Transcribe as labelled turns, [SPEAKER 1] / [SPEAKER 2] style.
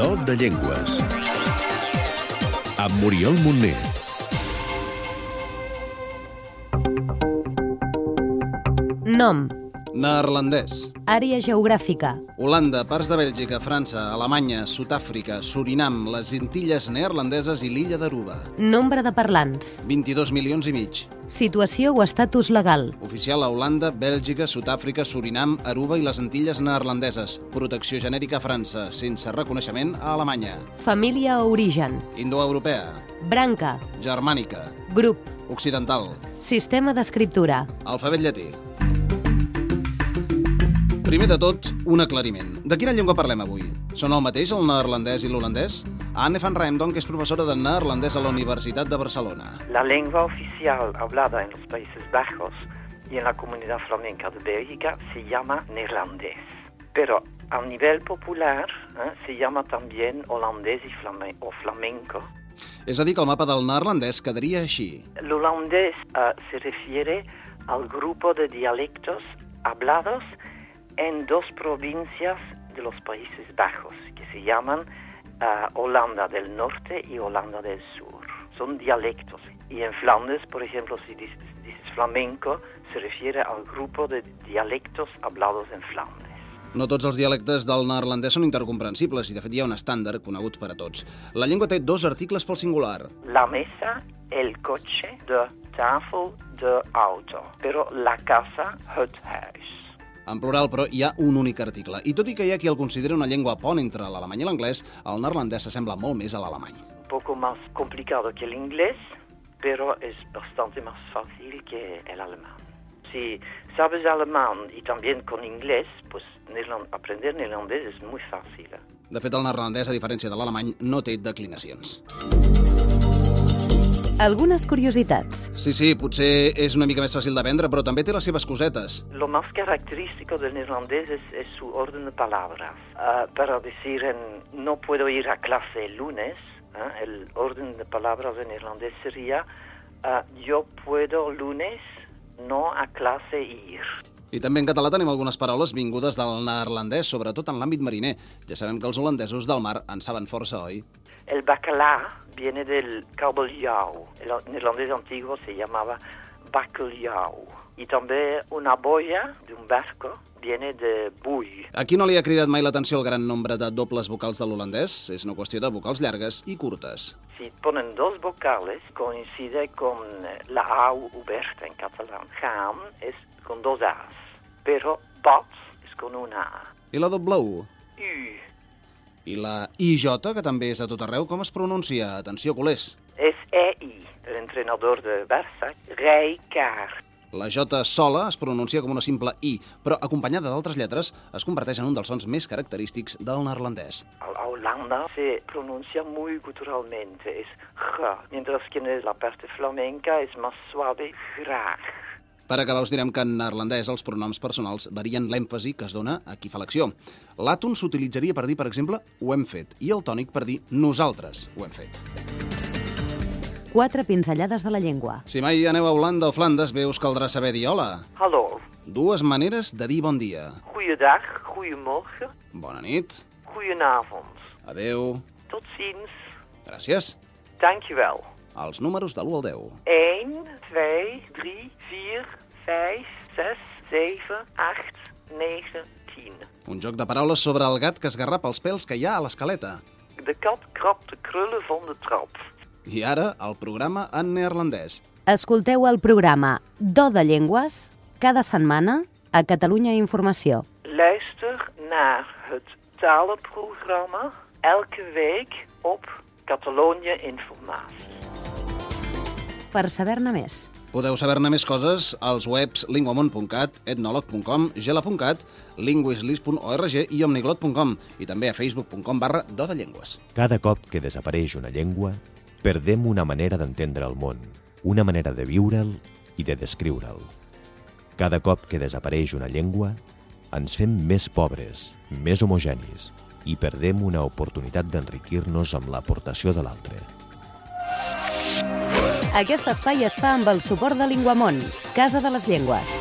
[SPEAKER 1] Do de Llengües. Amb Muriel Montner.
[SPEAKER 2] Nom,
[SPEAKER 3] Neerlandès.
[SPEAKER 2] àrea geogràfica,
[SPEAKER 3] Holanda, parts de Bèlgica, França, Alemanya, Sud-àfrica, Surinam, les Antilles neerlandeses i l'illa d'Aruba.
[SPEAKER 2] nombre de parlants,
[SPEAKER 3] 22 milions i mig.
[SPEAKER 2] situació o estatus legal,
[SPEAKER 3] Oficial a Holanda, Bèlgica, Sud-àfrica, Surinam, Aruba i les Antilles neerlandeses. Protecció genèrica a França, sense reconeixement a Alemanya.
[SPEAKER 2] família o origen,
[SPEAKER 3] Indoeuropea,
[SPEAKER 2] branca,
[SPEAKER 3] germànica,
[SPEAKER 2] grup,
[SPEAKER 3] occidental,
[SPEAKER 2] sistema d'escriptura.
[SPEAKER 3] alfabet llatí. Primer de tot, un aclariment. De quina llengua parlem avui? Són el mateix el neerlandès i l'holandès? Anne van Rijmdonk és professora de neerlandès a la Universitat de Barcelona.
[SPEAKER 4] La lengua oficial hablada en los Países Bajos y en la comunidad flamenca de Bélgica se llama neerlandés, pero a nivel popular ¿eh? se llama también holandés y flame- o flamenco.
[SPEAKER 3] És a dir, que el mapa del neerlandès quedaria així.
[SPEAKER 4] El holandés eh, se refiere al grupo de dialectos hablados en dos provincias de los Países Bajos, que se llaman eh, Holanda del Norte y Holanda del Sur. Son dialectos. Y en Flandes, por ejemplo, si dices, dices flamenco, se refiere al grupo de dialectos hablados en Flandes.
[SPEAKER 3] No tots els dialectes del neerlandès són intercomprensibles i, de fet, hi ha un estàndard conegut per a tots. La llengua té dos articles pel singular.
[SPEAKER 4] La mesa, el coche, de tafel, de auto. Pero la casa, het huis.
[SPEAKER 3] En plural, però, hi ha un únic article. I tot i que hi ha qui el considera una llengua pont entre l'alemany i l'anglès, el neerlandès s'assembla molt més a l'alemany.
[SPEAKER 4] un poco más complicado que el inglés, pero es bastante más fácil que el alemán. Si sabes alemán y también con inglés, pues neerlan- aprender neerlandés es muy fácil. ¿eh?
[SPEAKER 3] De fet, el neerlandès, a diferència de l'alemany, no té declinacions.
[SPEAKER 2] Algunes curiositats.
[SPEAKER 3] Sí, sí, potser és una mica més fàcil de vendre, però també té les seves cosetes.
[SPEAKER 4] Lo más característico del neerlandés es, es su orden de palabras. Ah, para decir en, no puedo ir a clase el lunes, ¿eh? el orden de palabras en neerlandés sería ah, yo puedo lunes no a clase ir.
[SPEAKER 3] I també en català tenim algunes paraules vingudes del neerlandès, sobretot en l'àmbit mariner. Ja sabem que els holandesos del mar en saben força, oi?
[SPEAKER 4] El bacalá viene del kabeljauw. El neerlandés antiguo se llamaba bakkeljauw. Y también una boya de un barco viene de bull.
[SPEAKER 3] Aquí no li ha cridat mai l'atenció el gran nombre de dobles vocals de l'holandès. És una qüestió de vocals llargues i curtes.
[SPEAKER 4] Si ponen dos vocales, coincide con eh, la au uberta en catalán. Gaan es con dos as, pero bat es con una a.
[SPEAKER 3] I la doble U?
[SPEAKER 4] U
[SPEAKER 3] I la IJ, que també és a tot arreu, com es pronuncia? Atenció, culers.
[SPEAKER 4] es ei, el entrenador de Barça. Rijkaard.
[SPEAKER 3] La J sola es pronuncia com una simple I, però acompanyada d'altres lletres es converteix en un dels sons més característics del neerlandès.
[SPEAKER 4] A a Holanda se pronuncia muy culturalmente, es ja, mientras que en la parte flamenca es más suave, graag.
[SPEAKER 3] Per acabar, us direm que en neerlandès els pronoms personals varien l'èmfasi que es dona a qui fa l'acció. L'àton s'utilitzaria per dir, per exemple, ho hem fet, i el tònic per dir nosaltres ho hem fet.
[SPEAKER 2] Quatre pinzellades de la llengua.
[SPEAKER 3] Si mai aneu a Holanda o Flandes, bé us caldrà saber dir hola.
[SPEAKER 4] Hallo,
[SPEAKER 3] Dues maneres de dir bon dia.
[SPEAKER 4] goeiedag, goeiemorgen,
[SPEAKER 3] Bona nit,
[SPEAKER 4] goedenavond.
[SPEAKER 3] adeu,
[SPEAKER 4] Tot ziens,
[SPEAKER 3] gràcies.
[SPEAKER 4] dankjewel.
[SPEAKER 3] Els números de l'1 al 10.
[SPEAKER 4] 1, 2, 3, 4, 5, 6, 7, 8, 9, 10.
[SPEAKER 3] Un joc de paraules sobre el gat que esgarrapa els pèls que hi ha a l'escaleta.
[SPEAKER 4] De kat krapt de krullen van de trap.
[SPEAKER 3] I ara, el programa en neerlandès.
[SPEAKER 2] Escolteu el programa Do de Llengües cada setmana a Catalunya Informació.
[SPEAKER 4] Luister naar het talenprogramma elke week op Catalonië Informatie.
[SPEAKER 2] Per saber-ne més,
[SPEAKER 3] Podeu saber-ne més coses als webs linguamont.cat, etnolog.com, gela.cat, linguislis.org i omniglot.com i també a facebook.com barra do de llengües.
[SPEAKER 5] Cada cop que desapareix una llengua, perdem una manera d'entendre el món, una manera de viure'l i de descriure'l. Cada cop que desapareix una llengua, ens fem més pobres, més homogenis i perdem una oportunitat d'enriquir-nos amb l'aportació de l'altre.
[SPEAKER 2] aquest espai es fa amb el suport de Linguamont, Casa de les Llengües.